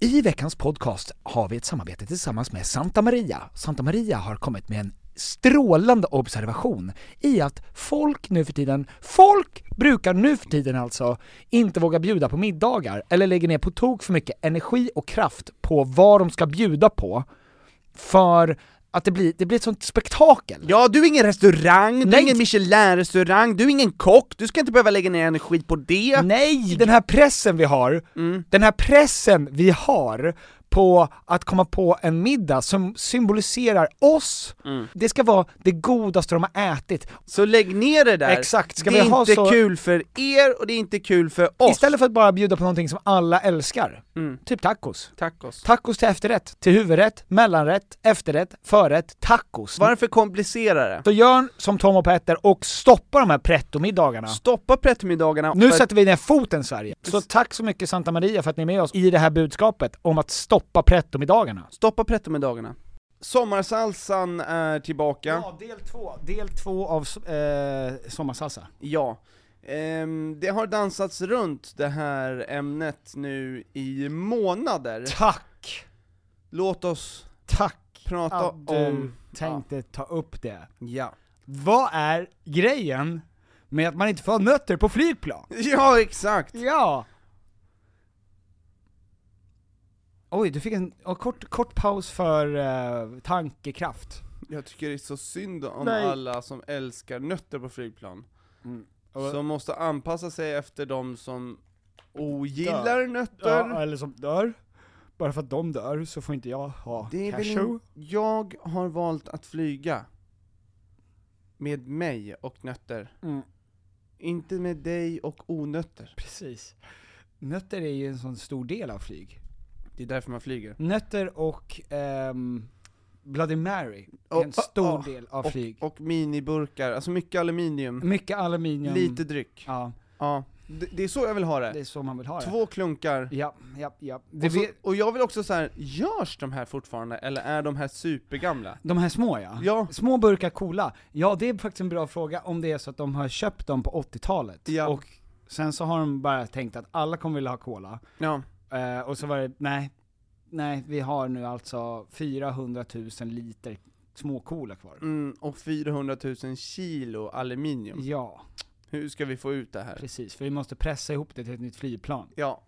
I veckans podcast har vi ett samarbete tillsammans med Santa Maria. Santa Maria har kommit med en strålande observation i att folk nu för tiden, folk brukar nu för tiden alltså inte våga bjuda på middagar eller lägger ner på tok för mycket energi och kraft på vad de ska bjuda på för att det blir, det blir ett sånt spektakel. Ja, du är ingen restaurang, du Nej. är ingen Michelin-restaurang, du är ingen kock, du ska inte behöva lägga ner energi på det. Nej! Den här pressen vi har, Mm. den här pressen vi har på att komma på en middag som symboliserar oss, Mm. det ska vara det godaste de har ätit. Så lägg ner det där. Exakt, ska det är vi ha inte så- kul för er och det är inte kul för oss. Mm. Istället för att bara bjuda på någonting som alla älskar, typ tacos. Tacos. Tacos till efterrätt, till huvudrätt, mellanrätt, efterrätt, förrätt, tacos. Varför komplicera det? Så gör som Tom och Petter och stoppa de här pretto-middagarna. Stoppa prettomiddagarna. Nu för- sätter vi ner foten Sverige. Så tack så mycket Santa Maria för att ni är med oss i det här budskapet om att stoppa pretto-middagarna. Stoppa prettomiddagarna. Sommarsalsan är tillbaka. Ja, del två. Del två av eh, Sommarsalsa. Ja. Ehm, det har dansats runt det här ämnet nu i månader. Tack! Låt oss Tack prata att du om... tänkte ta upp det. Ja. Vad är grejen med att man inte får ha nötter på flygplan? Ja, exakt! Ja! Oj, du fick en en kort, kort paus för eh, tankekraft. Jag tycker det är så synd om Nej. alla som älskar nötter på flygplan. Och- Som måste anpassa sig efter de som ogillar nötter. Ja, eller som dör. Bara för att de dör så får inte jag ha Det är väl cashew. in... Jag har valt att flyga. Med mig och nötter. Mm. Inte med dig och onötter. Precis. Nötter är ju en sån stor del av flyg. Det är därför man flyger. Nötter och ehm, Bloody Mary är Och- en stor och- del av och, flyg. Och miniburkar, alltså mycket aluminium, Mycket aluminium. lite dryck. Ja. Ja, Det, det är så jag vill ha det. det är så man vill ha det. Två klunkar. Ja, ja, ja. Det Och, så, vi, och jag vill också så här: görs de här fortfarande eller är de här supergamla? de här små ja. Ja. Små burkar coola. Ja, det är faktiskt en bra fråga om det är så att de har köpt dem på 80-talet. Ja. Och sen så har de bara tänkt att alla kommer vilja ha cola. Ja. Eh, och så var det, nej, nej, vi har nu alltså 400 000 liter små cola kvar. Mm, och 400 000 kilo aluminium. Ja, Hur ska vi få ut det här? precis. För vi måste pressa ihop det till ett nytt flygplan. Ja.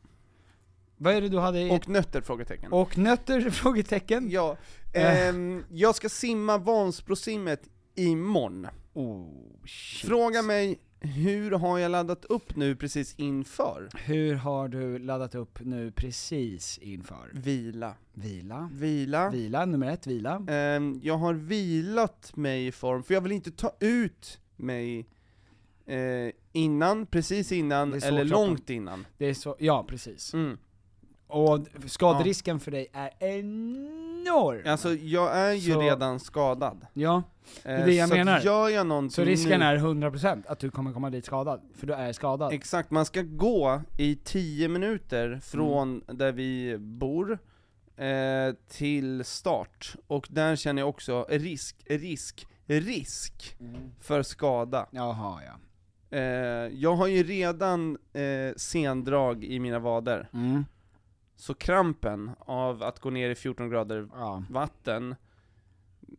Vad är det du hade i... Och nötter? Frågetecken. och nötter? Frågetecken? Ja. Eh. Ehm, jag ska simma Vansbrosimmet imorgon. Oh, shit. Fråga mig, hur har jag laddat upp nu precis inför? Hur har du laddat upp nu precis Mm. inför? Vila. Vila? Vila. Vila, nummer ett, vila. Ehm, jag har vilat mig i form, för jag vill inte ta ut mig eh, innan, precis innan, Det är så eller klockan- långt innan. Det är så, ja precis. Mm. Och skaderisken för dig är enorm! Alltså jag är ju Mm. Så- redan skadad. ja, Eh, är det jag så att menar. Gör jag någonting så risken nu, är 100% att du kommer komma dit skadad, för du är skadad. Exakt, man ska gå i 10 minuter från Mm. där vi bor eh, till start, och där känner jag också risk, risk, risk för skada. Jaha, ja. Eh, jag har ju redan eh, sendrag i mina vader, Mm. så krampen av att gå ner i 14 grader ja. vatten,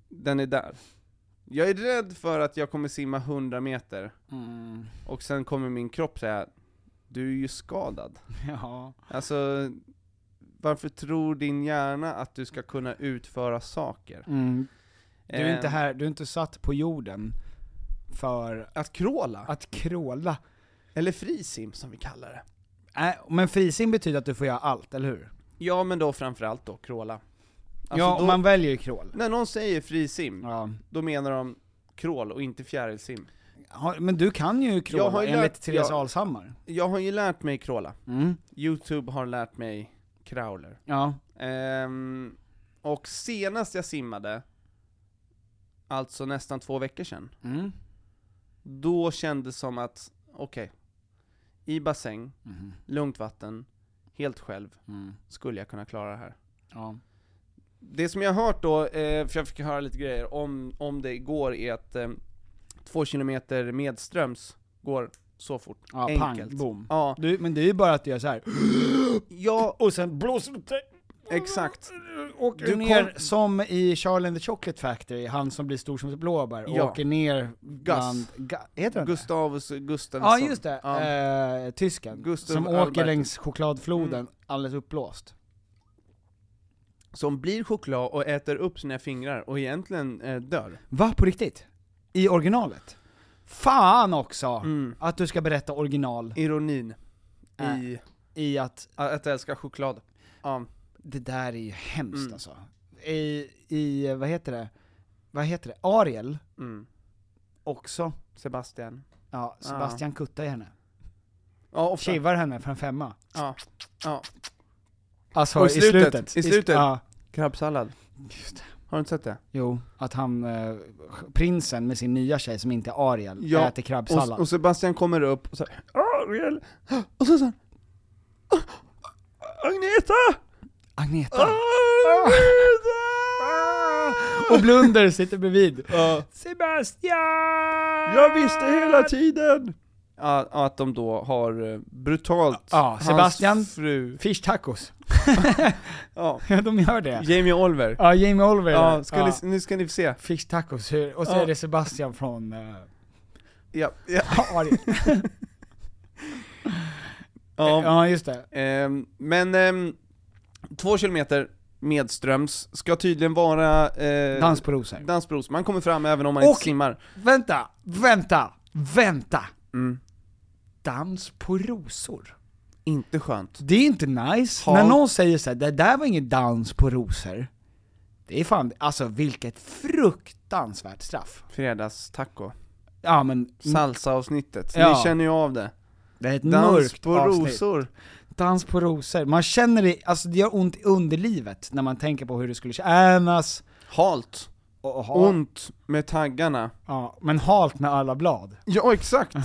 den är där. Jag är rädd för att jag kommer simma 100 meter, Mm. och sen kommer min kropp säga Du är ju skadad. ja. Alltså, varför tror din hjärna att du ska kunna utföra saker? Mm. Du är inte Eh, här, du är inte satt på jorden för Att kråla, att kråla. eller frisim som vi kallar det. Äh, men frisim betyder att du får göra allt, eller hur? Ja men då framförallt då kråla. Alltså ja, då, om man väljer krål. När någon säger frisim, Ja. då menar de krål och inte fjärilsim. Ha- Men du kan ju kråla Jag har ju enligt lärt- Therese jag- Alshammar. Jag har ju lärt mig kråla. Mm. Youtube har lärt mig crawler. Ja. Ehm, och senast jag simmade, alltså nästan två veckor sedan, Mm. då kändes som att, okej, i bassäng, Mhm. lugnt vatten, helt själv, Mm. skulle jag kunna klara det här. Ja. Det som jag har hört då, eh, för jag fick höra lite grejer om, om det igår, är att eh, två kilometer medströms går så fort. Ja, Enkelt. pang, boom. Ja, Du, men det är ju bara att du gör så här. ja och sen blåser du till- exakt. Åker Du ner kom- som i Charlie and the Chocolate Factory, han som blir stor som ett blåbär, och Ja. åker ner bland... Ga- heter han det? Gustavus Gustafsson. Ja just det, Ja. eh, tysken. Gustav som åker Albertus. längs chokladfloden, alldeles uppblåst. Som blir choklad och äter upp sina fingrar och egentligen eh, dör. Va? På riktigt? I originalet? Fan också! Mm. Att du ska berätta original Ironin Äh. i i att att älska choklad. Ja. det där är ju hemskt Mm. alltså. I, I, vad heter det? Vad heter det? Ariel Mm. också. Sebastian. Ja, Sebastian kuttar ju henne. Ja, ofta. Kivar henne för en femma. Ja. ja. Alltså Och i i slutet. slutet, i slutet. Ja, Krabbsallad. just det. Har du inte sett det? Jo, att han, eh, prinsen med sin nya tjej som inte är Ariel, Ja, äter Och, krabbsallad. och Sebastian kommer upp och så här, Ariel! Och så såhär, Agneta! Agneta. Ah! Ah! Agneta! Och Blunder sitter bredvid. Ja, Sebastian! jag visste hela tiden! Ja, ja, att de då har eh, brutalt Ja, Sebastian. hans fru, Fish tacos. ja, De gör det. Jamie Oliver. Ja, Jamie Oliver. Ja, ska Ja. Ni, nu ska ni få se. Fish tacos, hur- och så Ja. är det Sebastian från eh, Ja, ja, Ariel. ja. ja, just det. Ehm, men ehm, två kilometer medströms ska tydligen vara eh, Dans på rosor. dans på ros. Man kommer fram även om man Och- inte simmar. Vänta, vänta, vänta! Mm. Dans på rosor. Inte skönt. Det är inte nice, Ja. när någon säger så här, det där var ingen dans på rosor. Det är fan, alltså vilket fruktansvärt straff. Fredagstaco. Ja men, Salsa-avsnittet, Mm. Ja. ni känner ju av det. det är ett Dans mörkt på avsnitt. rosor. Dans på rosor, man känner det, alltså det gör ont i underlivet när man tänker på hur det skulle kännas. Halt. Och, och, ha- Ont med taggarna. ja, men halt med alla blad. Ja, exakt.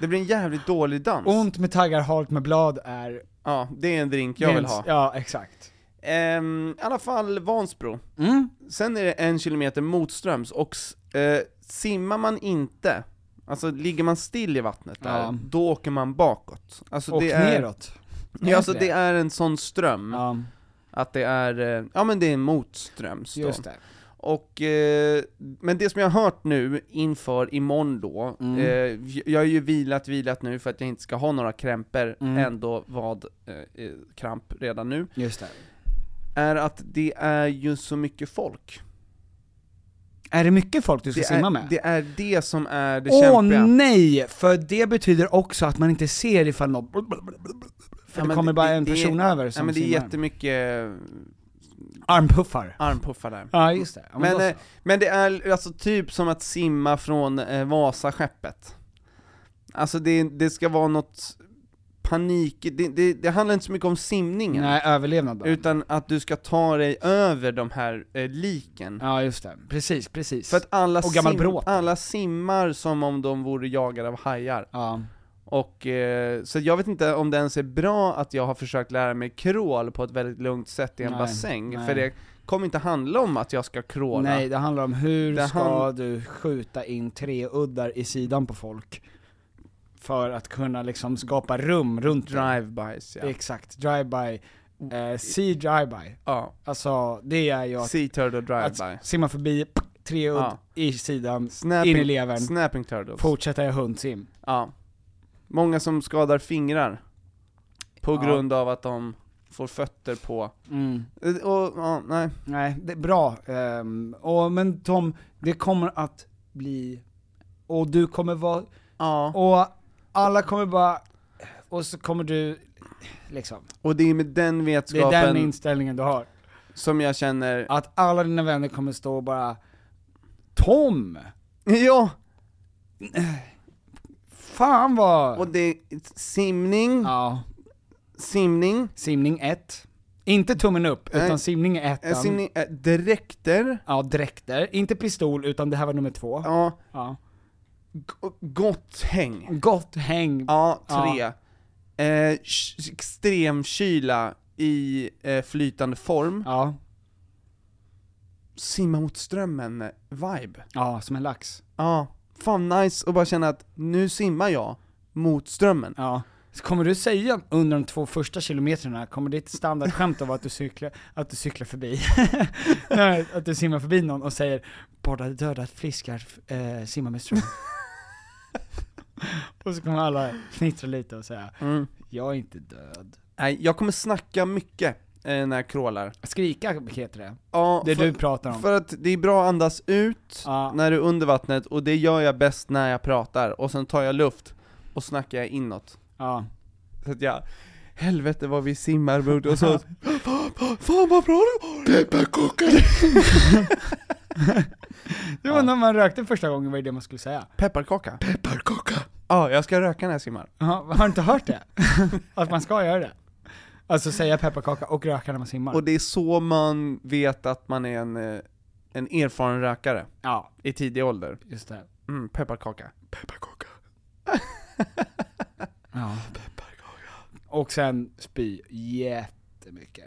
det blir en jävligt dålig dans. Ont med taggar, halt med blad är... Ja, det är en drink jag vill minst- ha. Ja, exakt. Ehm, I alla fall Vansbro. Mm. Sen är det en kilometer motströms, och s- eh, simmar man inte, alltså ligger man still i vattnet där, Ja. då åker man bakåt. Alltså, Och det är, neråt. ja, alltså det är en sån ström, Ja, att det är, eh, ja men det är motströms då. just det. Och, eh, men det som jag har hört nu inför imorgon då, Mm. eh, jag har ju vilat, vilat nu för att jag inte ska ha några krämpor, Mm. ändå vad eh, eh, kramp redan nu, Just det. är att det är ju så mycket folk. Är det mycket folk du ska Det simma är, med? det är det som är det Åh kämpiga. nej! För det betyder också att man inte ser ifall någon... För Ja, det men kommer det- bara en det är- person över Ja, som men det är simmar. jättemycket eh, Armpuffar. armpuffar där. Ja just det. Ja, Men, då så. eh, Men det är alltså typ som att simma från eh, Vasaskeppet. Alltså det, det ska vara något panik, det, det, det handlar inte så mycket om simningen. nej, överlevnad bara. Utan att du ska ta dig över de här eh, liken. Ja just det. Precis, precis. För att alla, Och gammal bråt. alla simmar som om de vore jagade av hajar. Ja. Och, eh, så jag vet inte om det ens är bra att jag har försökt lära mig crawl på ett väldigt lugnt sätt i en Nej, bassäng, nej. för det kommer inte handla om att jag ska kråla. Nej, det handlar om hur Det ska han- du skjuta in tre uddar i sidan på folk för att kunna liksom skapa rum runt dig. Drive-bys ja. Exakt, drive-by. Eh, see drive-by. ja. Alltså, det är ju att, Sea turtle att drive-by. simma förbi, tre udd Ja. i sidan, in i Snapping, levern, snapping turtles. fortsätta jag hundsim. Ja. Många som skadar fingrar. På Ja. grund av att de får fötter på... Mm. Eh, Och, ja, nej. Nej, det är bra. Ehm, och, men Tom, det kommer att bli, och du kommer vara, Ja. och alla kommer bara, och så kommer du, liksom. Och det är med den Det är vetskapen den inställningen du har. som jag känner... Att alla dina vänner kommer stå och bara Tom! Ja! Fan vad... Och det är simning, Ja, simning, simning 1. Inte tummen upp, Nej. utan simning är eh, ettan. simning eh, dräkter, Ja, dräkter. Inte pistol, utan det här var nummer två. Ja. ja, g- gott häng. Gott häng. Ja, tre. Eh, sh- extremkyla i eh, flytande form. Ja. Simma mot strömmen-vibe. ja, som en lax. Ja, fan nice att bara känna att nu simmar jag mot strömmen. Ja. Så kommer du säga under de två första kilometrarna, kommer ditt standardskämt att vara att du cyklar, att du cyklar förbi? Nej, att du simmar förbi någon och säger 'Båda döda fiskar eh, simmar med ström' Och så kommer alla fnittra lite och säga 'Jag är inte död' Mm. Nej, jag kommer snacka mycket eh, när jag crawlar. Skrika heter det, Ja, det för, du pratar om. för att det är bra att andas ut Ja. när du är under vattnet, och det gör jag bäst när jag pratar, och sen tar jag luft, och snackar jag inåt. ja. Så att jag, helvete vad vi simmar mot, och så, fan vad bra du har det, pepparkakor! Det var när man rökte första gången var det det man skulle säga. Pepparkaka? Pepparkaka! Ja, jag ska röka när jag simmar. Ja, har du inte hört det? att man ska göra det? Alltså säga pepparkaka och röka när man simmar. Och det är så man vet att man är en, eh, en erfaren rökare, Ja, i tidig ålder. just det. Mm, pepparkaka. Pepparkaka. Ja. Och sen spy jättemycket.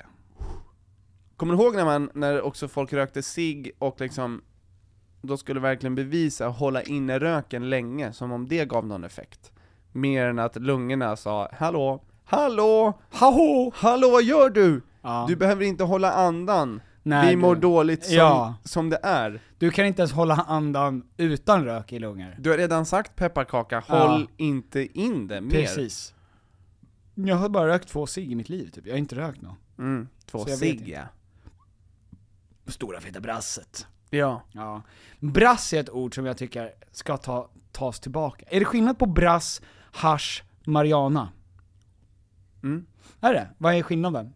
Kommer du ihåg när man, när också folk rökte cigg och liksom, då skulle verkligen bevisa och hålla inne röken länge, som om det gav någon effekt. Mer än att lungorna sa 'Hallå, hallå, hallå, hallå vad gör du? Ja. Du behöver inte hålla andan, Nej, vi mår du- dåligt som, Ja. som det är' Du kan inte ens hålla andan utan rök i lungor. Du har redan sagt pepparkaka, Ja. håll inte in det mer. Precis. Jag har bara rökt två cigg i mitt liv typ, jag har inte rökt någon. Mm, två Så jag vet cigg inte. ja. Stora feta brasset. Ja. Ja. Brass är ett ord som jag tycker ska ta, tas tillbaka. Är det skillnad på brass, hasch, marijuana? Mm. Är det? Vad är skillnaden?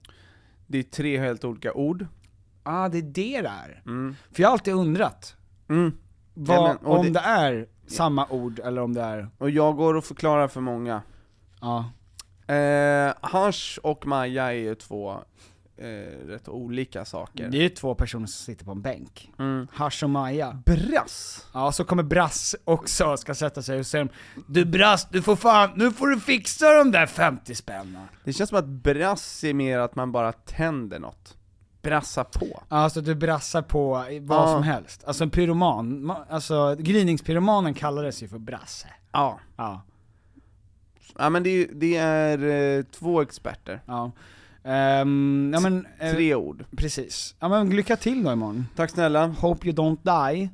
Det är tre helt olika ord. Ah, det är det det är. Mm. För jag har alltid undrat, Mm. vad, Ja, men, och om det... det- är samma ord eller om det är, Och jag går och förklarar för många. ja. Eh, hasch och Maja är ju två eh, rätt olika saker. Det är ju två personer som sitter på en bänk. Mm. Hasch och Maja. Brass! Ja, så kommer Brass också ska sätta sig och säga Du Brass, du får fan, nu får du fixa de där 50 spänna. Det känns som att brass är mer att man bara tänder något. Brassa på. Alltså du brassar på i vad Ja. som helst. Alltså en pyroman, ma- alltså gryningspyromanen kallades ju för Brasse. Ja. Ja, Ja men det är, ju- det är eh, två experter. ja. Ehm, ja men, eh, Tre ord. precis. Ja men lycka till då imorgon. Tack snälla. Hope you don't die,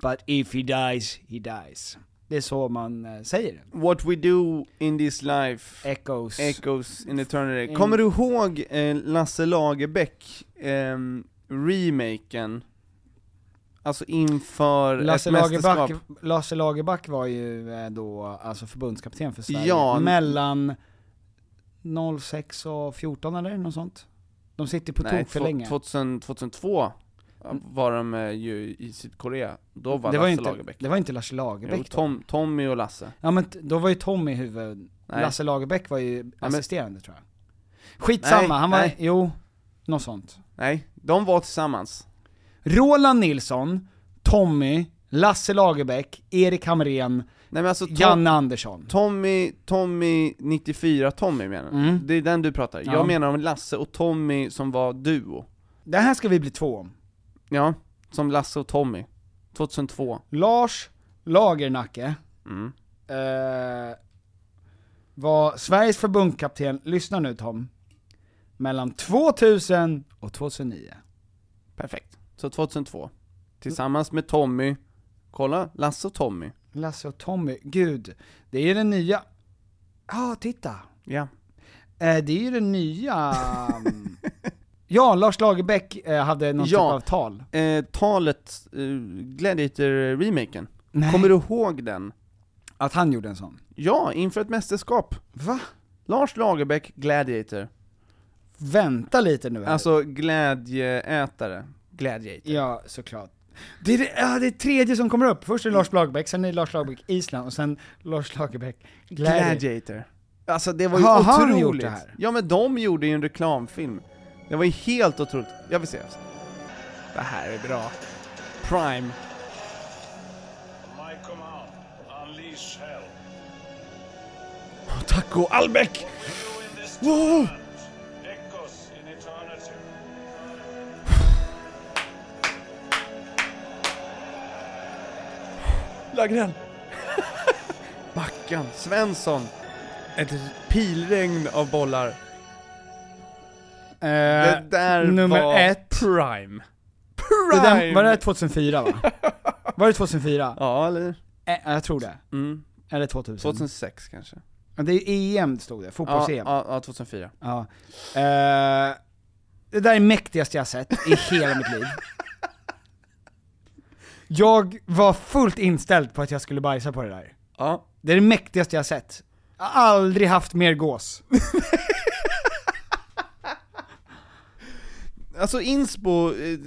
but if he dies, he dies. Det är så man eh, säger. What we do in this life Echoes. Echoes in Eternity. Mm. Kommer du ihåg eh, Lasse Lagerbäck, ehm, remaken? Alltså inför Lasse ett mästerskap. Lagerbäck, Lasse Lagerbäck var ju eh, då alltså förbundskapten för Sverige, Ja. mellan 06 och 14 eller något sånt? De sitter på Nej, tok för två- länge. 2000, 2002 var de eh, ju i Sydkorea. Då var det, Lasse var ju inte, Lagerbäck. det var inte Lasse Lagerbäck Jo, då. Tom, Tommy och Lasse. Ja men t- då var ju Tommy huvud, Nej. Lasse Lagerbäck var ju men- assisterande tror jag. Skitsamma, Nej, han var, nej. jo, något sånt. Nej, de var tillsammans. Roland Nilsson, Tommy, Lasse Lagerbäck, Erik Hamrén, Nej men alltså Tom, Janne Andersson. Tommy, Tommy 94 Tommy menar du? Det är den du pratar. Mm. Ja. Jag menar om Lasse och Tommy som var duo. Det här ska vi bli två om. Ja, som Lasse och Tommy. 2002. Lars Lagernacke Mm. eh, var Sveriges förbundskapten, lyssna nu Tom, mellan 2000 och 2009. Perfekt. Så 2002. Tillsammans med Tommy. Kolla, Lasse och Tommy. Lasse och Tommy, gud, det är ju den nya... Ja, ah, titta! Ja. Eh, det är ju den nya... mm, ja, Lars Lagerbäck eh, hade någon Ja. typ av tal. Eh, talet, eh, Gladiator-remaken. Nej. Kommer du ihåg den? Att han gjorde en sån. Ja, inför ett mästerskap. Va? Lars Lagerbäck, Gladiator. Vänta lite nu här. Alltså glädjeätare. Gladiator. Ja, såklart. Det är det, ja, det är tredje som kommer upp. Först är det Lars Lagerbäck, sen är det Lars Lagerbäck Island och sen Lars Lagerbäck Glädje. Gladiator. Alltså det var ju Har han otroligt. gjort det här? Ja men de gjorde ju en reklamfilm. Det var ju helt otroligt. Jag vill se. Det här är bra. Prime. My command, unleash hell. Taco Albeck! You in this Whoa. command echoes in eternity. Lagrell! Mackan, Svensson. Ett pilregn av bollar. Det där Eh, nummer var ett. prime. Det Prime! där, var det här 2004 va? Var det 2004? Ja, eller? Eh, jag tror det. Mm. Eller 2000? 2006 kanske. Ja, Det är EM stod det, Ja, fotbolls-EM. Ja, ja, ja, 2004. Eh, det där är mäktigaste jag har sett i hela mitt liv. Jag var fullt inställd på att jag skulle bajsa på det där. Ja. Det är det mäktigaste jag har sett. Jag har aldrig haft mer gås. Alltså Insbo, eh,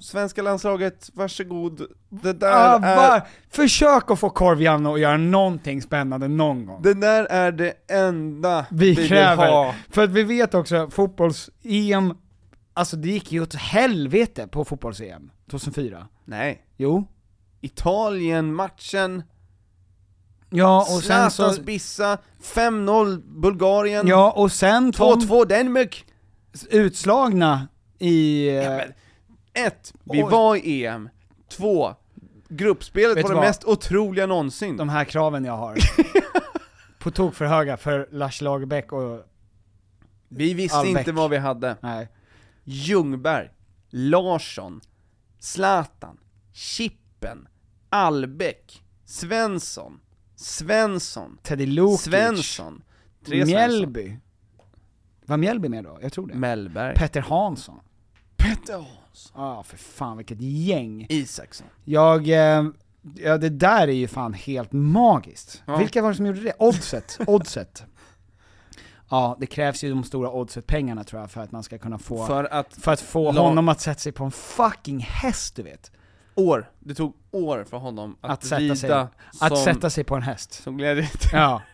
svenska landslaget, varsågod. Det där, Ah, är, va? Försök att få Korviano att göra någonting spännande någon gång. det där är det enda vi kräver. vill ha. För att vi vet också, fotbolls-EM, alltså det gick ju åt helvete på fotbolls-EM 2004. Nej. Jo. Italien-matchen, Ja och sen så... Zlatans bissa, 5-0 Bulgarien, Ja och sen Tom 2-2 Danmark. utslagna i... eh, men- Mm. Ett, Vi Oj. var i EM. Två, Gruppspelet Vet var du det vad? mest otroliga någonsin. de här kraven jag har. på tok för höga för Lars Lagerbäck och... vi visste Albeck. inte vad vi hade. Nej. Ljungberg, Larsson, Zlatan, Chippen, Albeck, Svensson, Svensson, Teddy Lukic. Svensson, Tre Svensson. Mjällby. Var Mjällby med då? Jag tror det. Mellberg, Petter Hansson. Petter Hansson, Ja, för fan vilket gäng. Isaksson. Jag, eh, ja det där är ju fan helt magiskt. Vilka var det som gjorde det? Oddset, oddset. Ja, det krävs ju de stora oddset-pengarna tror jag för att man ska kunna få, för, För att, att få La- honom att sätta sig på en fucking häst du vet. år, det tog år för honom att, Att, sätta, rida sig, som, att sätta sig på en häst. som glädje. Ja.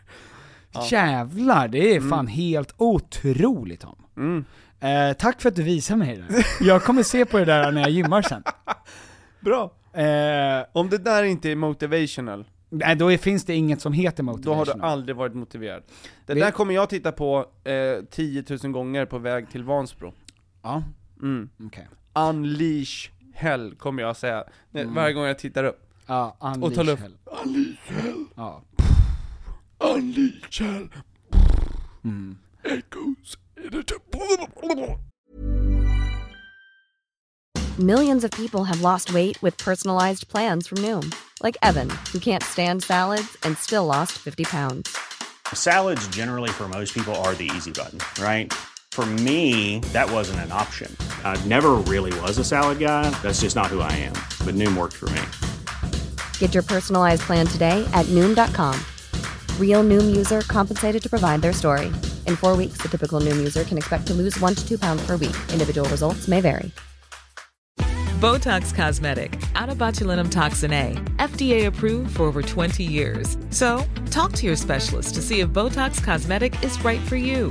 Ja. Jävlar, det är fan helt otroligt Tom. Mm. Eh, tack för att du visar mig det där. Jag kommer se på det där när jag gymmar sen. Bra! Eh, Om det där inte är motivational, nej, då är, finns det inget som heter då har motivation. du aldrig varit motiverad. Det Vi- där kommer jag titta på eh, 10 000 gånger på väg till Vansbro. Ja, Mm. okej. Unleash hell kommer jag säga Nej, varje gång jag tittar upp. Ja, unleash Och ta luft. hell. Ja. Unleash hell. Mm. Echoes in the Millions of people have lost weight with personalized plans from Noom, like Evan, who can't stand salads and still lost 50 pounds. Salads, generally, for most people, are the easy button, right? For me, that wasn't an option. I never really was a salad guy. That's just not who I am. But Noom worked for me. Get your personalized plan today at Noom.com. Real Noom user compensated to provide their story. In four weeks, the typical Noom user can expect to lose one to two pounds per week. Individual results may vary. Botox Cosmetic, out of botulinum toxin A, FDA approved for over 20 years. So, talk to your specialist to see if Botox Cosmetic is right for you.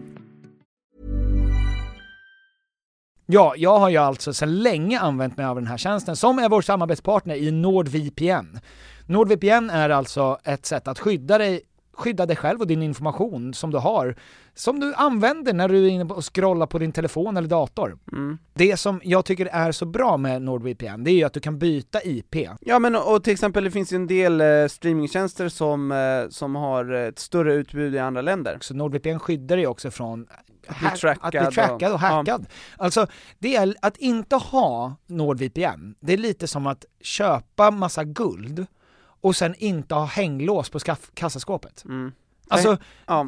Ja, jag har ju alltså sedan länge använt mig av den här tjänsten som är vår samarbetspartner i NordVPN. NordVPN är alltså ett sätt att skydda dig, skydda dig själv och din information som du har, som du använder när du är inne och scrollar på din telefon eller dator. Mm. Det som jag tycker är så bra med NordVPN, det är ju att du kan byta IP. Ja men och till exempel det finns ju en del eh, streamingtjänster som, eh, som har eh, ett större utbud i andra länder. Så NordVPN skyddar dig också från bli hack- trackad att bli trackad och- och hackad. Alltså, det är, att inte ha NordVPN, det är lite som att köpa massa guld och sen inte ha hänglås på skaff- kassaskåpet. Mm. Alltså,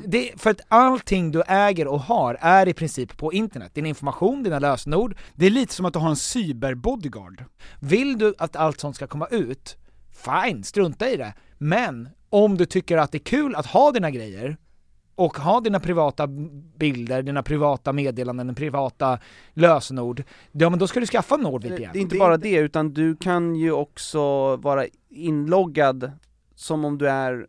det, för att allting du äger och har är i princip på internet. Din information, dina lösenord. Det är lite som att du har en cyberbodyguard. Vill du att allt sånt ska komma ut, fine, strunta i det. Men om du tycker att det är kul att ha dina grejer, och ha dina privata bilder, dina privata meddelanden, dina privata lösenord, ja men då ska du skaffa NordVPN. Det är inte bara det, utan du kan ju också vara inloggad som om du är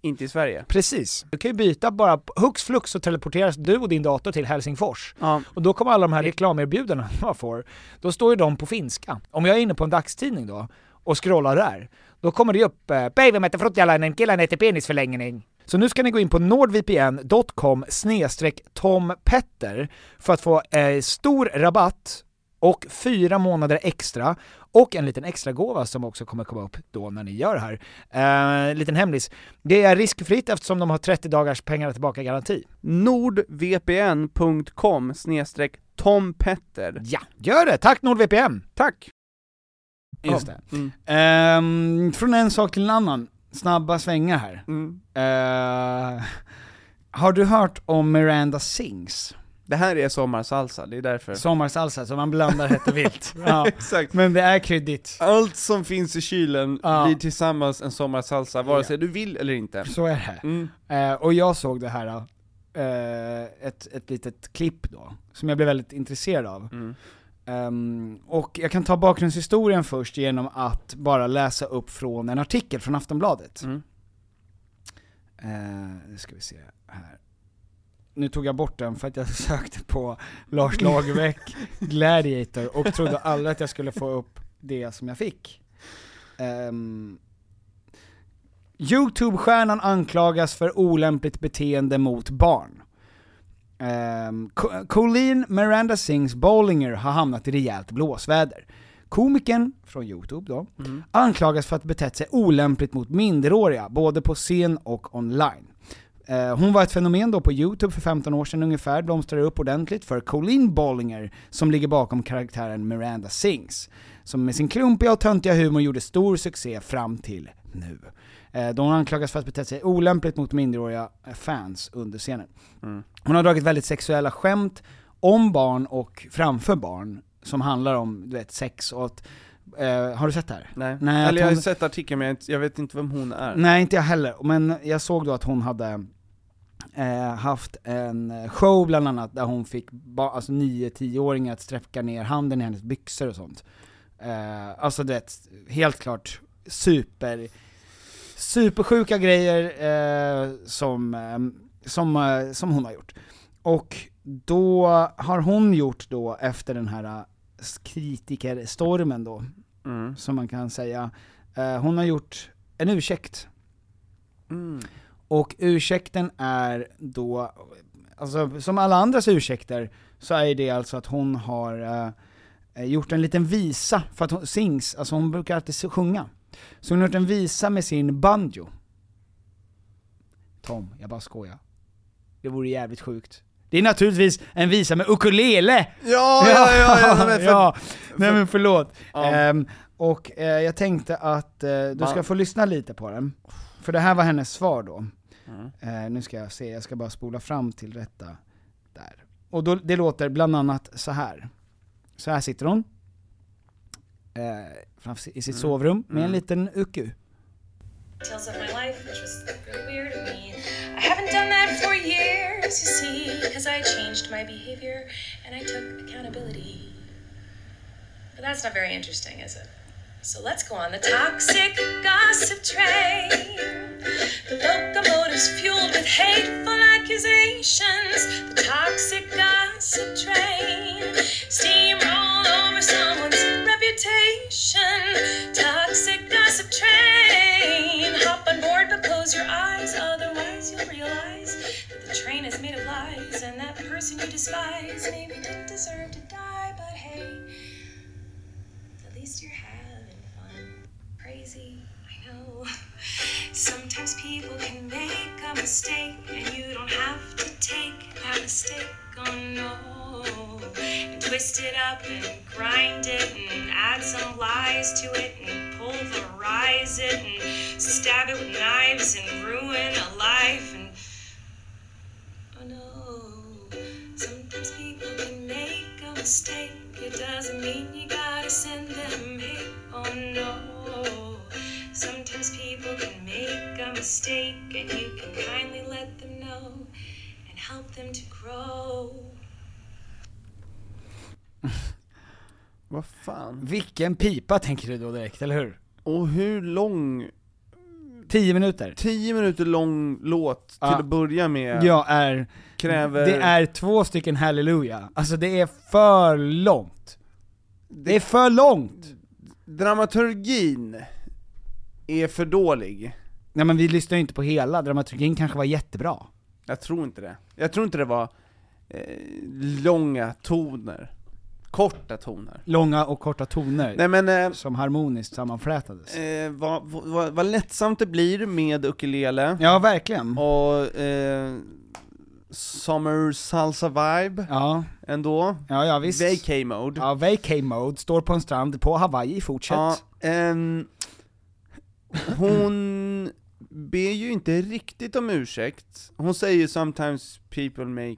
inte i Sverige. Precis. Du kan ju byta bara, hux flux så teleporteras du och din dator till Helsingfors. Ja. Och då kommer alla de här reklamerbjudandena man får, då står ju de på finska. Om jag är inne på en dagstidning då, och scrollar där, då kommer det upp eh, “Baby mätte fruttjalainen, killen heter penisförlängning”. Så nu ska ni gå in på nordvpn.com snedstreck tompetter för att få eh, stor rabatt och fyra månader extra och en liten extra gåva som också kommer komma upp då när ni gör det här. Eh, liten hemlis. Det är riskfritt eftersom de har 30 dagars pengar tillbaka-garanti. nordvpn.com snedstreck Tom Petter. Ja, gör det! Tack NordVPN! Tack! Just det. Mm. Ehm, från en sak till en annan, snabba svängar här. Mm. Eh, har du hört om Miranda Sings? Det här är sommarsalsa, det är därför. Sommarsalsa som man blandar hett och vilt. Ja. Exakt. Men det är kryddigt. Allt som finns i kylen Ja. blir tillsammans en sommarsalsa, vare sig du vill eller inte. Så är det. Mm. Eh, och jag såg det här, eh, ett, ett litet klipp då, som jag blev väldigt intresserad av. Ehm, och jag kan ta bakgrundshistorien först genom att bara läsa upp från en artikel från Aftonbladet. Mm. Eh, nu ska vi se här. Nu tog jag bort den för att jag sökte på Lars Lagerbäck Gladiator och trodde aldrig att jag skulle få upp det som jag fick. Ehm, Youtube-stjärnan anklagas för olämpligt beteende mot barn. Ehm, Co- Colleen Miranda Sings Bollinger har hamnat i rejält blåsväder. Komikern, från Youtube då, anklagas för att betett sig olämpligt mot minderåriga, både på scen och online. Eh, Hon var ett fenomen då på Youtube för 15 år sedan ungefär, blomstrade upp ordentligt för Colleen Bollinger som ligger bakom karaktären Miranda Sings. Som med sin klumpiga och töntiga humor gjorde stor succé fram till nu. Eh, Då hon anklagas för att bete sig olämpligt mot minderåriga eh, fans under scenen. Hon har dragit väldigt sexuella skämt om barn och framför barn, som handlar om du vet, sex och att, eh, har du sett det här? Nej. Nej, att eller jag har hon- sett artikeln men jag, inte- jag vet inte vem hon är. Nej, inte jag heller. Men jag såg då att hon hade eh, haft en show bland annat där hon fick ba- alltså 9-10-åringar att sträcka ner handen i hennes byxor och sånt. Eh, alltså det är helt klart super, supersjuka grejer eh, som, eh, som, eh, som hon har gjort. Och då har hon gjort då efter den här eh, kritikerstormen då, Mm. som man kan säga. Eh, hon har gjort en ursäkt. Mm. Och ursäkten är då, alltså som alla andras ursäkter, så är det alltså att hon har eh, gjort en liten visa, för att hon sings, alltså hon brukar alltid sjunga. Så hon har gjort en visa med sin banjo. Tom, jag bara skojar. Det vore jävligt sjukt. Det är naturligtvis en visa med ukulele! Ja, ja, ja, ja, men för, ja. Nej men förlåt. Ja. Ehm, och eh, jag tänkte att eh, du ska Man- få lyssna lite på den. För det här var hennes svar då. Mm. Eh, nu ska jag se, jag ska bara spola fram till rätta där. Och då, det låter bland annat så här. Så här sitter hon. Eh, framför, I sitt Mm. sovrum med en liten uku. details of my life, which was really weird of me. I haven't done that for years, you see, because I changed my behavior and I took accountability. But that's not very interesting, is it? So let's go on the toxic gossip train. The locomotive's fueled with hateful accusations. The toxic gossip train. Steamroll over someone's reputation. Toxic gossip train. Hop on board but close your eyes, otherwise you'll realize that the train is made of lies and that person you despise maybe didn't deserve to die, but hey, at least you're having fun. Crazy, I know. Sometimes people can make a mistake and you don't have to take that mistake. Oh no. And twist it up and grind it and add some lies to it and pulverize it and stab it with knives and ruin a life and oh no. Sometimes people can make a mistake. It doesn't mean you gotta send them hate. Oh no. Sometimes people can make a mistake and you can kindly let them know and help them to grow. Vad fan? Vilken pipa tänker du då direkt, eller hur? Och hur lång? Tio minuter. Tio minuter lång låt till Ja. att börja med. Jag är... Kräver- Det är två stycken halleluja. Alltså det är för långt. Det är för långt! Dramaturgin är för dålig. Nej men vi lyssnar ju inte på hela, dramaturgin kanske var jättebra. Jag tror inte det. Jag tror inte det var eh, långa toner. Korta toner. Långa och korta toner. Nej, men, som harmoniskt sammanflätades. Eh, vad, vad- vad, vad lättsamt det blir med ukulele. Ja, verkligen. Och eh, Summer Salsa Vibe. Ja. Ändå. Ja, ja visst. Vacay mode. Ja, vacay mode, står på en strand på Hawaii, i fortsätt. Ja, ehm, hon ber ju inte riktigt om ursäkt. Hon säger ju 'sometimes people make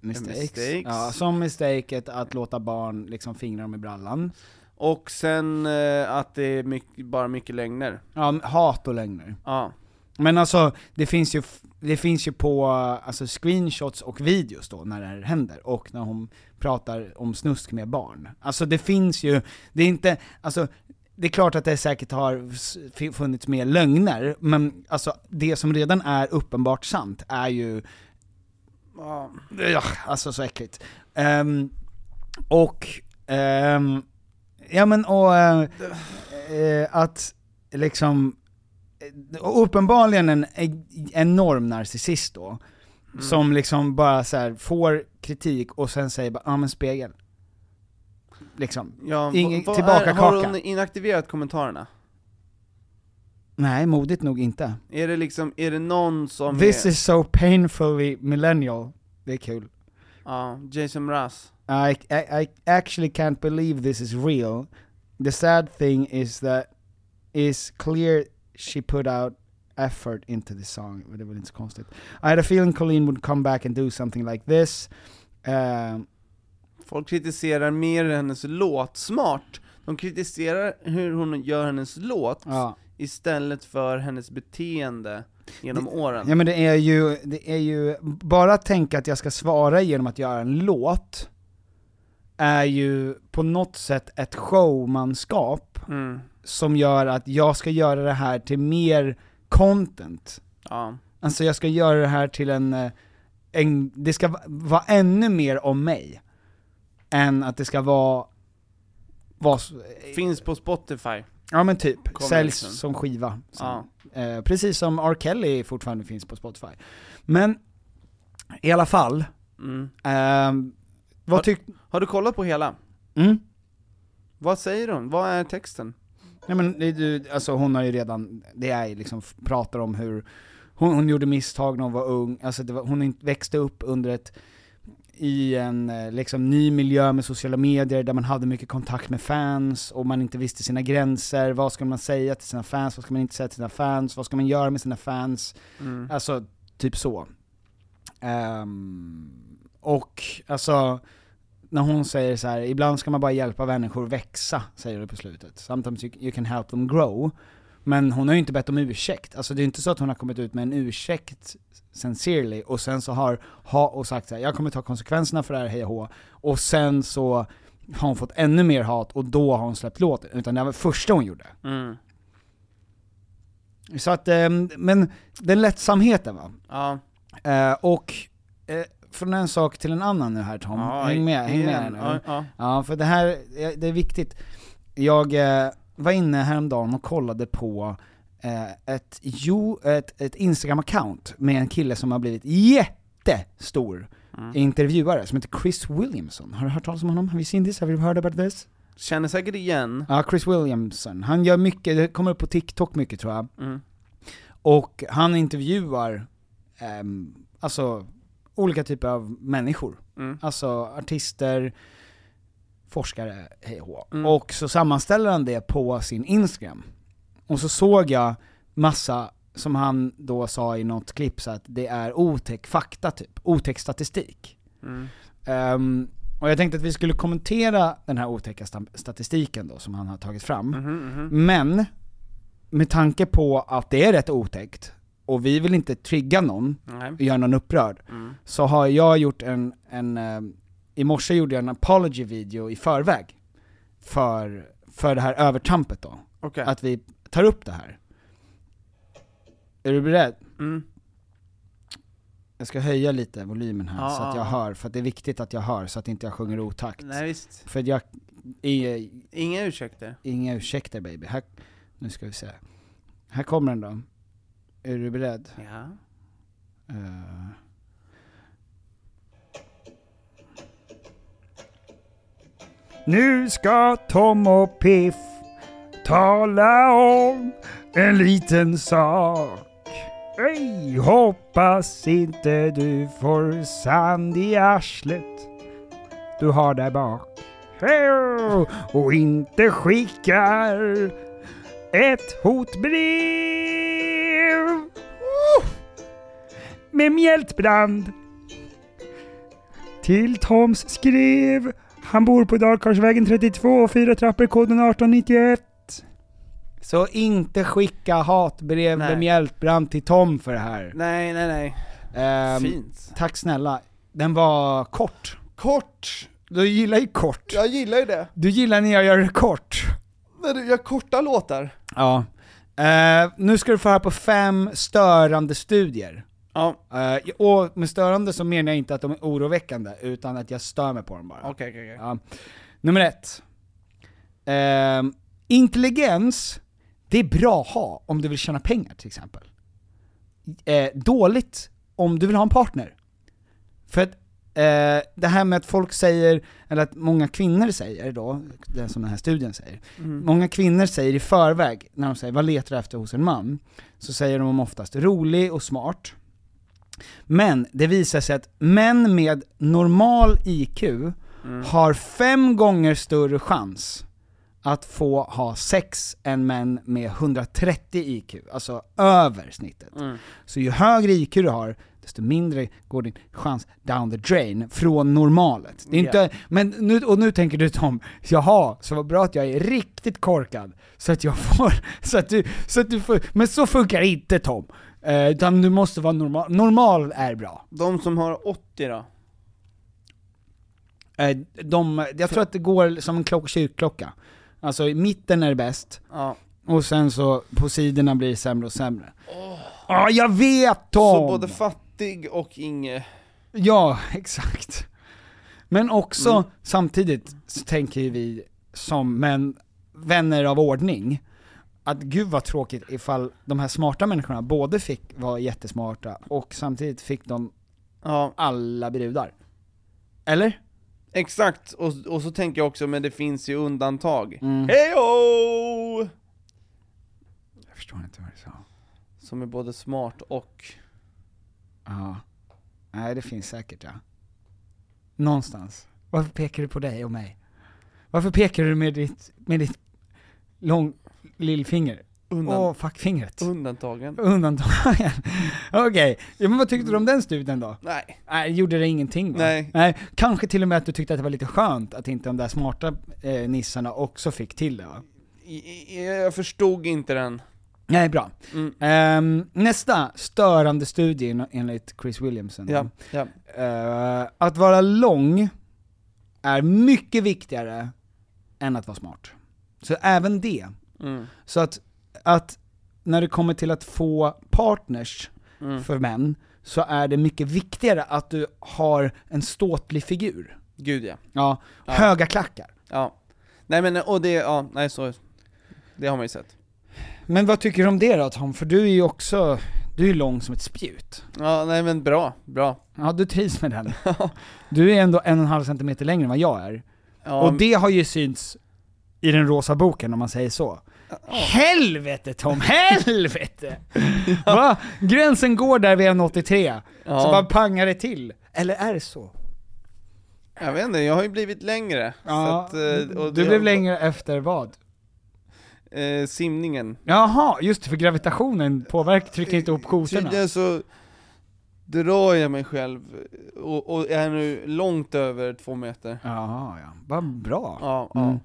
mistakes'. mistakes. Ja, som mistaket att låta barn liksom fingra dem i brallan. Och sen eh, att det är mycket, bara mycket lögner. Ja, hat och lögner. Ja. Men alltså, det finns ju, f- det finns ju på alltså, screenshots och videos då när det här händer, och när hon pratar om snusk med barn. Alltså det finns ju, det är inte, alltså det är klart att det säkert har s- f- funnits mer lögner, men alltså det som redan är uppenbart sant är ju, ja, alltså så äckligt. Ehm, och, ehm, ja men och, eh, eh, att liksom, och uppenbarligen en e- enorm narcissist då, Mm. som liksom bara så här får kritik och sen säger bara ah, men spegel. Liksom. ja Ingen, vad- vad tillbaka är, kaka. Har hon inaktiverat kommentarerna? Nej, modigt nog inte. Är det liksom, är det någon som This är... is so painfully millennial. Det är kul. Ja, Jason Mraz. I, I, I actually can't believe this is real. The sad thing is that is clear she put out effort into the song. Det var inte så konstigt. I had a feeling Colleen would come back and do something like this. Um, Folk kritiserar mer hennes låt, smart. De kritiserar hur hon gör hennes låt Ja. istället för hennes beteende genom åren. Ja men det är ju, det är ju, bara att tänka att jag ska svara genom att göra en låt, är ju på något sätt ett showmanskap Mm. som gör att jag ska göra det här till mer content. Ja. Alltså jag ska göra det här till en, eh, en det ska va- vara ännu mer om mig, än att det ska vara, vara så- Finns på Spotify. Ja men typ, Kommer säljs liksom. som skiva. sen. Eh, precis som R. Kelly fortfarande finns på Spotify. Men, i alla fall, Mm. ehm, vad tyck... Har du kollat på hela? Mm? Vad säger hon? Vad är texten? Nej men, det, är ju- alltså hon har ju redan, det är ju liksom, f- pratar om hur, hon, hon gjorde misstag när hon var ung, alltså det var, hon in- växte upp under ett, i en eh, liksom ny miljö med sociala medier där man hade mycket kontakt med fans och man inte visste sina gränser, vad ska man säga till sina fans, vad ska man inte säga till sina fans, vad ska man göra med sina fans? Mm. Alltså, typ så. Ehm, och, alltså, när hon säger så här, ibland ska man bara hjälpa människor växa, säger du på slutet. Sometimes you, you can help them grow. Men hon har ju inte bett om ursäkt. Alltså det är inte så att hon har kommit ut med en ursäkt sincerely och sen så har ha och sagt så här, jag kommer ta konsekvenserna för det här, hej och hå. Och sen så har hon fått ännu mer hat och då har hon släppt låten. Utan det var första hon gjorde. Mm. Så att, eh, men den lättsamheten va. Ja. Eh, och eh, från en sak till en annan nu här Tom, Ja, häng med, häng med här igen. nu. Ja, ja. för det här, eh, det är viktigt. Jag eh, var inne häromdagen och kollade på eh, ett, jo, ett, ett Instagram-account med en kille som har blivit jättestor Mm. intervjuare, som heter Chris Williamson. Har du hört talas om honom? Have you seen this? Have you heard about this? Känner säkert igen. Ja, Chris Williamson. Han gör mycket, det kommer upp på TikTok mycket tror jag. Mm. Och han intervjuar, ehm, alltså, olika typer av människor. Mm. Alltså artister, forskare, hej och hå. Mm. Och så sammanställer han det på sin Instagram. Och så såg jag massa, som han då sa i något klipp, så att det är otäck fakta typ, otäck statistik. Mm. Ehm, och jag tänkte att vi skulle kommentera den här otäcka sta- statistiken då som han har tagit Mhm, fram. Men, med tanke på att det är rätt otäckt, och vi vill inte trigga någon, Nej. göra någon upprörd, Mm. så har jag gjort en, en eh, i morse gjorde jag en apology video i förväg. För, för det här övertrampet då. Okej. Att vi tar upp det här. Är du beredd? Mm. Jag ska höja lite volymen här Ja, så att ja, jag ja. hör, för att det är viktigt att jag hör så att inte jag sjunger otakt. Nej, visst. För att jag, i, Inga ursäkter. inga ursäkter baby. Här, nu ska vi se. Här kommer den då. Är du beredd? Ja. Eh. Nu ska Tom och Piff tala om en liten sak. Ej, hoppas inte du får sand i arslet du har där bak. Hej, Och inte skickar ett hotbrev Oh! med mjältbrand till Toms skrev. Han bor på Dalkarlsvägen 32, fyra trappor, koden 1891. Så inte skicka hatbrev Nej. med mjältbrand till Tom för det här. Nej, nej, nej. Ehm, Fint. Tack snälla. Den var kort. Kort! Du gillar ju kort. Jag gillar ju det. Du gillar när jag gör det kort. När du gör korta låtar. Ja. Eh, nu ska du få höra på fem störande studier. Eh, Ja. och med störande så menar jag inte att de är oroväckande, utan att jag stör mig på dem bara. Okej, okej, okej. Ja. Nummer ett. Ehm, intelligens, det är bra att ha om du vill tjäna pengar till exempel. Eh, dåligt om du vill ha en partner. För att eh, det här med att folk säger, eller att många kvinnor säger då, det som den här studien säger, Mm. många kvinnor säger i förväg, när de säger vad letar du efter hos en man? Så säger de oftast rolig och smart. Men det visar sig att män med normal IQ Mm. har fem gånger större chans att få ha sex än män med 130 IQ, alltså över snittet. Mm. Så ju högre IQ du har, desto mindre går din chans down the drain från normalet. Det är inte, Ja. men nu, och nu tänker du Tom, jaha, så vad bra att jag är riktigt korkad, så att jag får, så att du, så att du får, men så funkar det inte Tom. Eh, utan du måste vara normal, normal är bra. De som har 80 då? Eh, de, jag tror att det går som en klock, kyrkklocka. Alltså i mitten är det bäst, Ja. och sen så på sidorna blir det sämre och sämre. Ja, jag vet Tom! Så både fattig och inge... Ja, exakt. Men också Mm. samtidigt så tänker ju vi som män, vänner av ordning, att gud vad tråkigt ifall de här smarta människorna både fick vara jättesmarta och samtidigt fick de alla brudar. Eller? Exakt, och, och så tänker jag också, men det finns ju undantag. Mm. Hejo! Jag förstår inte vad du sa. Som är både smart och... Ja. Nej, det finns säkert ja. Någonstans. Varför pekar du på dig och mig? Varför pekar du med ditt, med ditt lång, lillfinger? Undan- Åh, fuckfingret. Undantagen. Undantagen. Okej, ja, men vad tyckte du om den studien då? Nej. Nej, gjorde det ingenting va? Nej. Kanske till och med att du tyckte att det var lite skönt att inte de där smarta eh, nissarna också fick till det va? I- i- Jag förstod inte den. Nej, bra. Mm. Ehm, nästa störande studie Mm. en- enligt Chris Williamson. Ja, ja. Eh, att vara lång är mycket viktigare än att vara smart. Så även det. Mm. Så att, att när det kommer till att få partners Mm. för män, så är det mycket viktigare att du har en ståtlig figur. Gud ja. Ja, höga klackar. Ja. Nej men, och det, ja, nej så, det har man ju sett. Men vad tycker du om det då Tom? För du är ju också, du är lång som ett spjut. Ja, nej men bra, bra. Ja, du trivs med den. Du är ändå en och en halv centimeter längre än vad jag är. Ja, och det har ju synts i den rosa boken om man säger så. Helvete Tom, helvete! Va? Gränsen går där vid 1,83. Ja. Så bara pangar det till. Eller är det så? Jag vet inte, jag har ju blivit längre. Ja, så att, eh, och du det- blev längre efter vad? Eh, simningen. Jaha, just det, för gravitationen påverkar, trycker inte ihop kosorna. Tydligen så drar jag mig själv och, och är nu långt över två meter. Jaha ja, vad bra. Ja, Mm.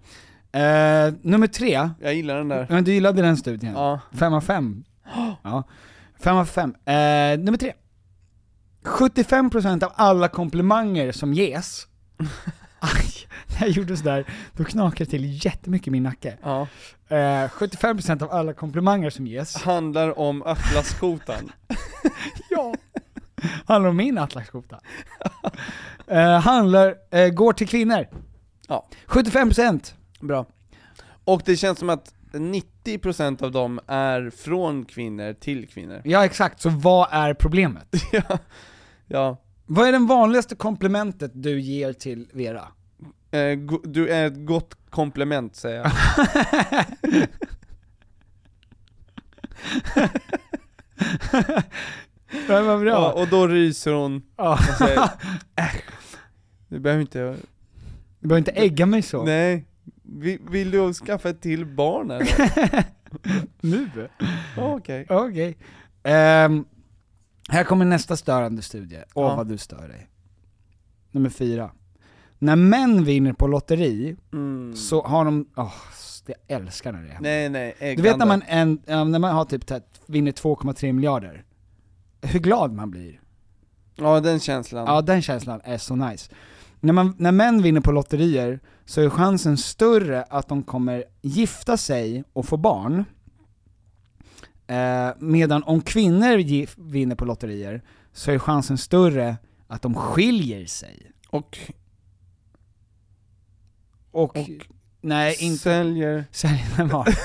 Eh, nummer tre. Jag gillar den där. Men du gillade den studien? Ja. Fem av fem. Ja. Fem av fem. Eh, nummer tre. 75% av alla komplimanger som ges, aj, när jag gjorde sådär, då knakade det till jättemycket i min nacke. Ja. Eh, 75% av alla komplimanger som ges Handlar om atlaskotan. ja. handlar om min atlaskskjorta. Eh, handlar, eh, går till kvinnor. Ja. 75%. Bra. Och det känns som att 90% av dem är från kvinnor till kvinnor. Ja exakt, så vad är problemet? Ja. Vad är det vanligaste komplimentet du ger till Vera? Eh, go- du är ett gott komplement säger jag. Men vad bra. Ja, och då ryser hon Ja. och säger "Äh, Du behöver inte... Du behöver inte ägga mig så. Nej. Vill, vill du skaffa ett till barn eller? Nu? Ja, Okej. Okej. Ehm, här kommer nästa störande studie. Åh Ja. vad du stör dig. Nummer fyra. När män vinner på lotteri, Mm. så har de, åh, jag älskar när det händer. Nej nej, äggande. Du vet när man, en, ja, när man har typ så här- vinner 2,3 miljarder, hur glad man blir. Ja den känslan. Ja den känslan är så nice. När, man, när män vinner på lotterier så är chansen större att de kommer gifta sig och få barn. Eh, medan om kvinnor gif, vinner på lotterier så är chansen större att de skiljer sig. Och, och, nej inte... Säljer. Säljer en barn.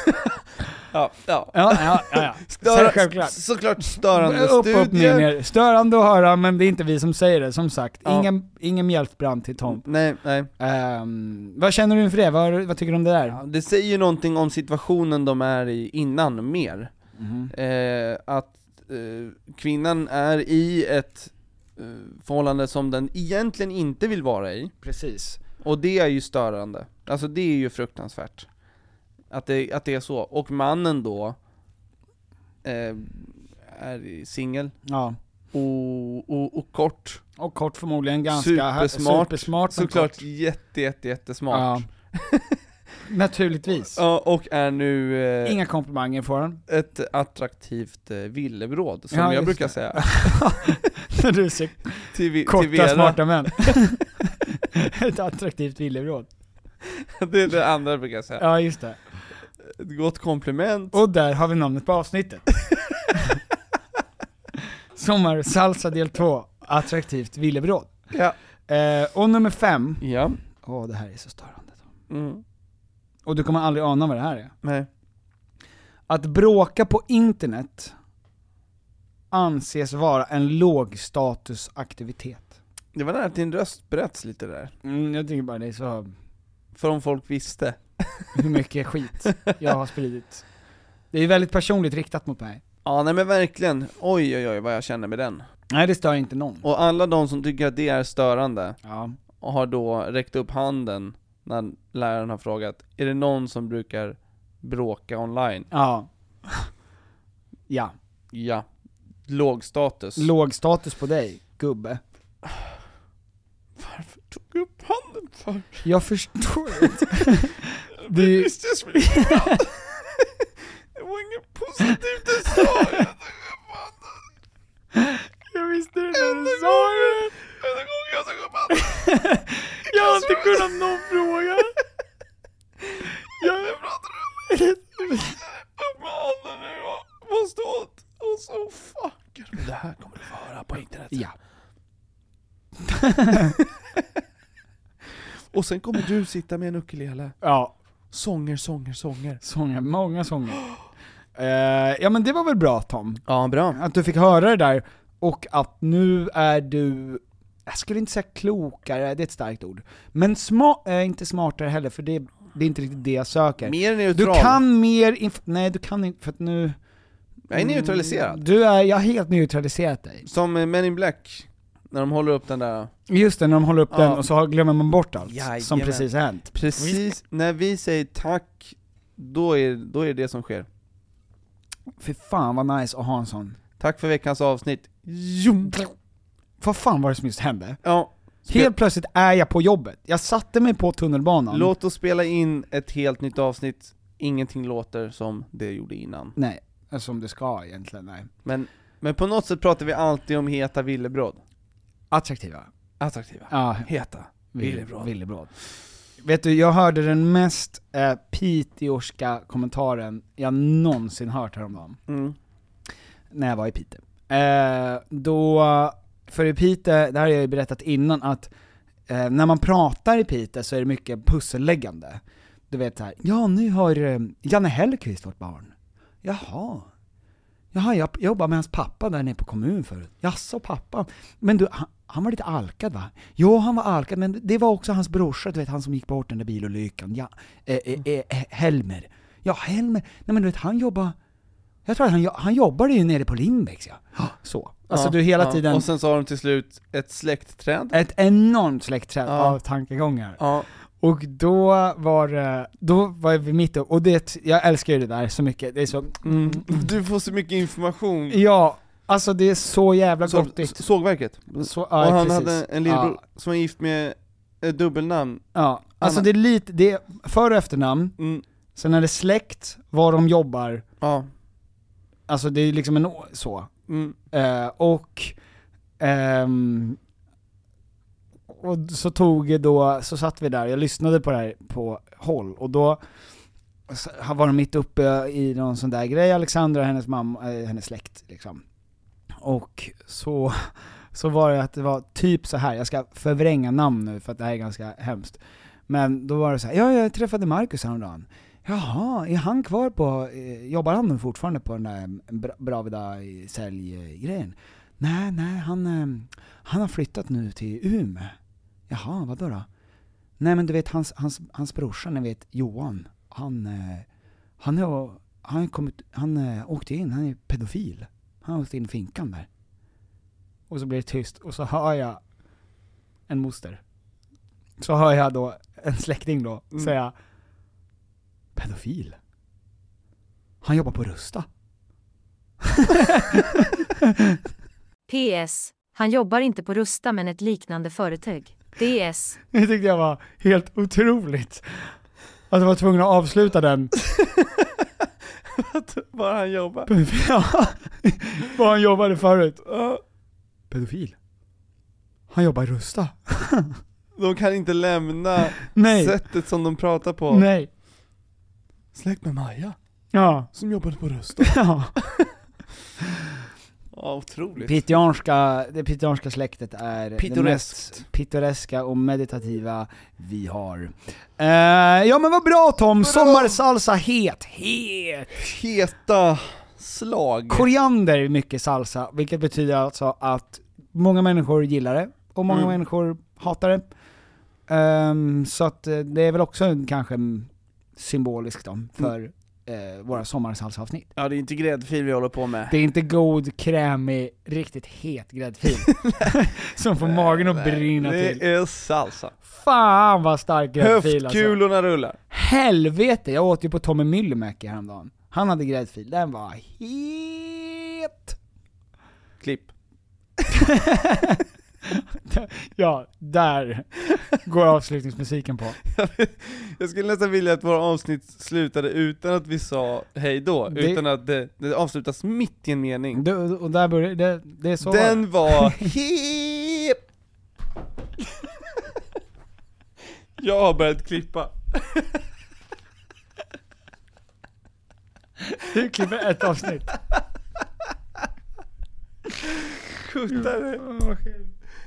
Ja, ja. Ja, ja, ja, ja. Störa, Så självklart. Såklart störande upp, studier. upp, ner, ner. Störande att höra, men det är inte vi som säger det, som sagt. Ja. Ingen, ingen mjältbrand till Tom. Nej, nej. Ehm, vad känner du inför det? Vad, vad tycker du om det där? Det säger ju någonting om situationen de är i innan mer. Mhm. Eh, att eh, kvinnan är i ett eh, förhållande som den egentligen inte vill vara i. Precis. Och det är ju störande. Alltså det är ju fruktansvärt. Att det, att det är så. Och mannen då eh, är i singel. Ja. Och, och, och kort. Och kort förmodligen ganska hö- supersmart. supersmart men Såklart kort. jätte, jätte, jättesmart. Naturligtvis. Ja, och är nu eh, Inga komplimanger får han. ett attraktivt eh, villebråd, som Ja, jag just brukar det. säga. När du ser Till, vi- till korta Vera. smarta män. Ett attraktivt villebråd. Det är det andra jag brukar säga. Ja, just det. Ett gott komplement. Och där har vi namnet på avsnittet. Sommarsalsa del 2, attraktivt villebråd. Ja. Eh, och nummer fem. Ja. Åh, det här är så störande. Mm. Och du kommer aldrig ana vad det här är. Nej. Att bråka på internet anses vara en lågstatusaktivitet. Det var nära att din röst bröts lite där. Mm, jag tycker bara det är så, För om folk visste. hur mycket skit jag har spridit. Det är väldigt personligt riktat mot mig. Ja, nej men verkligen. Oj, oj, oj vad jag känner med den. Nej, det stör inte någon. Och alla de som tycker att det är störande, Ja. och har då räckt upp handen när läraren har frågat, är det någon som brukar bråka online? Ja. Ja. Ja. Låg status. Låg status på dig, gubbe. Varför tog jag upp handen för? Jag förstår inte. Det är ju- Visst, jag skulle Det var inget positivt du sa! Jag tog upp handen. Jag visste det Enda när du sa gången- det. enda gången jag tog upp handen. Jag har inte kunnat Martin! Upp med handen nu, jag måste åt! Och så fuck! Det här kommer du få höra på internet. Ja. Och sen kommer du sitta med en ukulele. Ja. Sånger, sånger, sånger. Sånger, många sånger. Eh, ja men det var väl bra Tom? Ja, bra. Att du fick höra det där, och att nu är du, jag skulle inte säga klokare, det är ett starkt ord. Men sma, eh, inte smartare heller, för det, det är inte riktigt det jag söker. Mer Du neutral. kan mer, inf- nej du kan inte, för att nu... Jag är neutraliserad. Du är, jag har helt neutraliserat dig. Som eh, Men in Black, när de håller upp den där... Just det, när de håller upp Ja. den och så har- glömmer man bort allt som Jajamän. precis har hänt. Precis, när vi säger tack, då är, då är det det som sker. Fy fan vad nice att ha en sån. Tack för veckans avsnitt. Vad fan var det som just hände? Ja. Helt plötsligt är jag på jobbet. Jag satte mig på tunnelbanan. Låt oss spela in ett helt nytt avsnitt, ingenting låter som det gjorde innan. Nej, som det ska egentligen, nej. Men, men på något sätt pratar vi alltid om heta villebråd. Attraktiva. Attraktiva. Ja. Heta. Villebråd. Villebråd. Vet du, jag hörde den mest eh, piteåska kommentaren jag någonsin hört häromdagen. Mm. När jag var i Piteå. Eh, då, för i Piteå, det här har jag ju berättat innan, att eh, när man pratar i Piteå så är det mycket pusselläggande. Du vet såhär, ja nu har eh, Janne Hellquist vårt barn. Jaha. Jaha, jag jobbar med hans pappa där nere på kommun förut. Jaså pappa? Men du, han, han var lite alkad va? Jo, han var alkad, men det var också hans brorsa, du vet han som gick bort den där bilolyckan. Ja, eh, eh, Mm. eh, eh, Helmer. Ja, Helmer. Nej men du vet, han jobbar... Jag tror att han, jo- han jobbade ju nere på Lindbäcks ja. Ja, Så. Alltså Ja, du hela ja. tiden... Och sen så har de till slut ett släktträd. Ett enormt släktträd Ja. av tankegångar. Ja. Och då var det- då var vi mitt upp, och det, jag älskar ju det där så mycket, det är så, Mm. Du får så mycket information. ja, alltså det är så jävla Så- gottigt. sågverket. Så, ja, och han precis. hade en lillebror Ja. som var gift med ett dubbelnamn. Ja, alltså Anna. det är lite, det är för och efternamn, sen är det släkt, var de jobbar, ja. alltså det är liksom en å- så. Mm. Eh, och, ehm, och så tog då, så satt vi där, jag lyssnade på det här på håll, och då så var de mitt uppe i någon sån där grej, Alexandra och hennes mamma, eh, hennes släkt liksom. Och så, så var det att det var typ så här jag ska förvränga namn nu för att det här är ganska hemskt. Men då var det så här, ja jag träffade Marcus häromdagen. Jaha, är han kvar på, eh, jobbar han fortfarande på den där mm, Bra- Bravida eh, säljgrejen? Nej, nej, han, eh, han har flyttat nu till Umeå. Jaha, vadå då? Nej men du vet hans, hans, hans brorsa, ni vet Johan, han, eh, han har, han har kommit, han eh, åkte in, han är pedofil. Han åkte in i finkan där. Och så blir det tyst, och så hör jag en moster. Så hör jag då en släkting då Mm. säga Pedofil? Han jobbar på Rusta. PS. Han jobbar inte på Rusta men ett liknande företag. DS. Det tyckte jag var helt otroligt. Att jag var tvungen att avsluta den. Bara han jobbar. Ja, vad han jobbade förut. Ja. Pedofil. Han jobbar i Rusta. De kan inte lämna Nej. sättet som de pratar på. Nej. Släkt med Maja, Ja. som jobbade på Rusta. Ja. Ja, otroligt. Piteånska, det piteånska släktet är det Pittoreskt. mest pittoreska och meditativa vi har. Eh, ja men vad bra Tom! Sommarsalsa het, het! Heta slag. Koriander är mycket salsa, vilket betyder alltså att många människor gillar det, och många Mm. människor hatar det. Ehm, så att eh, det är väl också en- kanske mm, symboliskt då, för eh, våra sommarsalsaavsnitt. Ja, det är inte gräddfil vi håller på med. Det är inte god, krämig, riktigt het gräddfil. som får magen att brinna det till. är salsa. Fan vad stark gräddfil alltså. Höftkulorna rullar. Helvete, jag åt ju på Tommy Myllymäki häromdagen. Han hade gräddfil, den var het. Klipp. ja, där går avslutningsmusiken på. Jag skulle nästan vilja att våra avsnitt slutade utan att vi sa hej då, Det- utan att det, det avslutas mitt i en mening. Du, och där börjar, det, det är så Den var hip! Jag har börjat klippa. Du klipper ett avsnitt. Kuttar dig!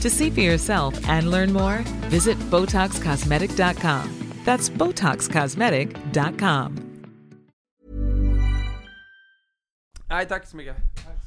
To see for yourself and learn more, visit BotoxCosmetic.com. That's BotoxCosmetic.com. Nej tack så mycket.